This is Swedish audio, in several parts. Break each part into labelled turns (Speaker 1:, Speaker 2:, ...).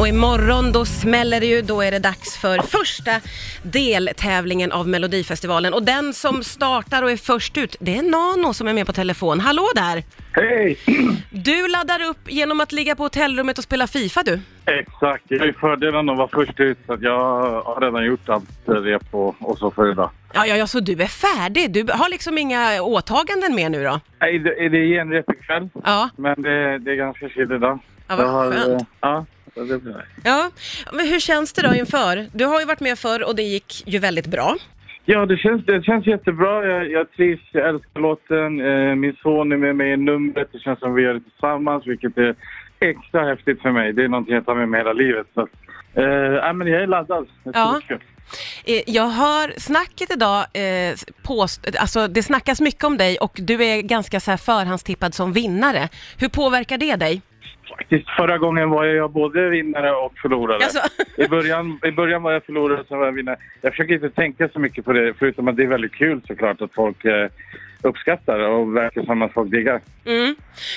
Speaker 1: Och imorgon då smäller det ju, då är det dags för första deltävlingen av Melodifestivalen. Och den som startar och är först ut, det är Nano som är med på telefon. Hallå där!
Speaker 2: Hej!
Speaker 1: Du laddar upp genom att ligga på hotellrummet och spela Fifa du.
Speaker 2: Exakt, jag har ju fördelen att vara först ut så att jag har redan gjort allt rep och, och så för idag.
Speaker 1: Ja, ja, ja, så du är färdig. Du har liksom inga åtaganden mer nu då?
Speaker 2: Nej, det är det genrep ikväll,
Speaker 1: Ja,
Speaker 2: men det, det är ganska chill idag.
Speaker 1: Ja, vad
Speaker 2: Jag har, eh,
Speaker 1: skönt.
Speaker 2: Ja, så det blir nice.
Speaker 1: ja. Men hur känns det då inför? Du har ju varit med förr och det gick ju väldigt bra.
Speaker 2: Ja, det känns, det känns jättebra. Jag, jag trivs, jag älskar låten. Eh, min son är med mig i numret. Det känns som vi gör det tillsammans, vilket är extra häftigt för mig. Det är någonting jag tar med mig hela livet. Så. att, Eh, nej, men jag är laddad. Det ska
Speaker 1: Ja.
Speaker 2: bli kul.
Speaker 1: Eh, Jag hör snacket idag, eh, påst- alltså det snackas mycket om dig och du är ganska så här förhandstippad som vinnare. Hur påverkar det dig?
Speaker 2: Faktiskt, förra gången var jag både vinnare och förlorare.
Speaker 1: Alltså,
Speaker 2: I början, I början var jag förlorare, sen var jag vinnare. Jag försöker inte tänka så mycket på det, förutom att det är väldigt kul såklart att folk eh, uppskattar och verkar som att folk diggar.
Speaker 1: mm.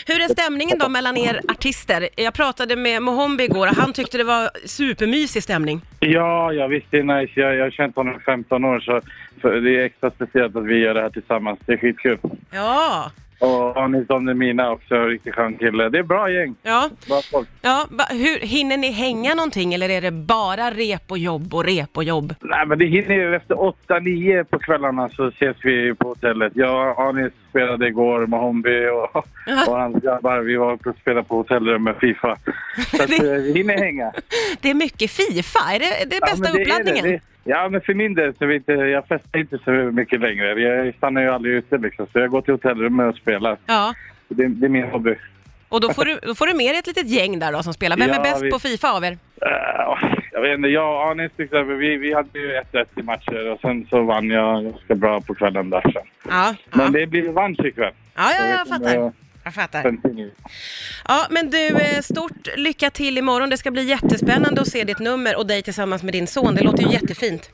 Speaker 1: Hur är stämningen då mellan er artister? Jag pratade med Mohombi igår och han tyckte det var supermysig stämning.
Speaker 2: Ja, ja visst det är nice. Jag, jag har känt honom i 15 år så för det är extra speciellt att vi gör det här tillsammans. Det är skitkul.
Speaker 1: Ja,
Speaker 2: Och Anis Don Demina också, en riktigt skön kille. Det är bra gäng,
Speaker 1: ja,
Speaker 2: bra folk.
Speaker 1: ja. Va, hur, hinner ni hänga någonting eller är det bara rep och jobb och rep och jobb?
Speaker 2: Nej men det hinner ju. Efter åtta, nio på kvällarna så ses vi på hotellet. Jag och Anis spelade igår med Hombi och, och hans grabbar. Vi var uppe och spelade på hotellrum med Fifa. Så att,
Speaker 1: Det-
Speaker 2: eh, vi hinner hänga.
Speaker 1: Det är mycket Fifa, är det, det är
Speaker 2: Ja,
Speaker 1: bästa
Speaker 2: men det är
Speaker 1: uppladdningen?
Speaker 2: det. Det- Ja men för min del så vet jag, jag festar inte så mycket längre. Jag stannar ju aldrig ute liksom. Så jag går till hotellrummet och spelar.
Speaker 1: Ja,
Speaker 2: Det, det är min hobby.
Speaker 1: och då får, du, då får du med dig ett litet gäng där då som spelar. Vem är
Speaker 2: Ja,
Speaker 1: bäst
Speaker 2: vi-
Speaker 1: på Fifa av er?
Speaker 2: Eh, jag vet inte, jag och Anis till exempel, vi, vi hade ju 1-1 i matcher och sen så vann jag ganska bra på kvällen där sen.
Speaker 1: Ja,
Speaker 2: Men
Speaker 1: ja.
Speaker 2: det blir revansch ikväll.
Speaker 1: Ja, ja,
Speaker 2: Jag
Speaker 1: jag
Speaker 2: vet inte
Speaker 1: fattar.
Speaker 2: om
Speaker 1: Jag fattar.
Speaker 2: jag- sen-
Speaker 1: Ja, men du, eh, stort lycka till imorgon. Det ska bli jättespännande att se ditt nummer och dig tillsammans med din son. Det låter ju jättefint.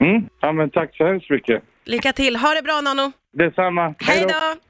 Speaker 2: Mm. Ja, men tack så hemskt mycket.
Speaker 1: Lycka till. Ha det bra, Nano.
Speaker 2: Detsamma.
Speaker 1: Hej då!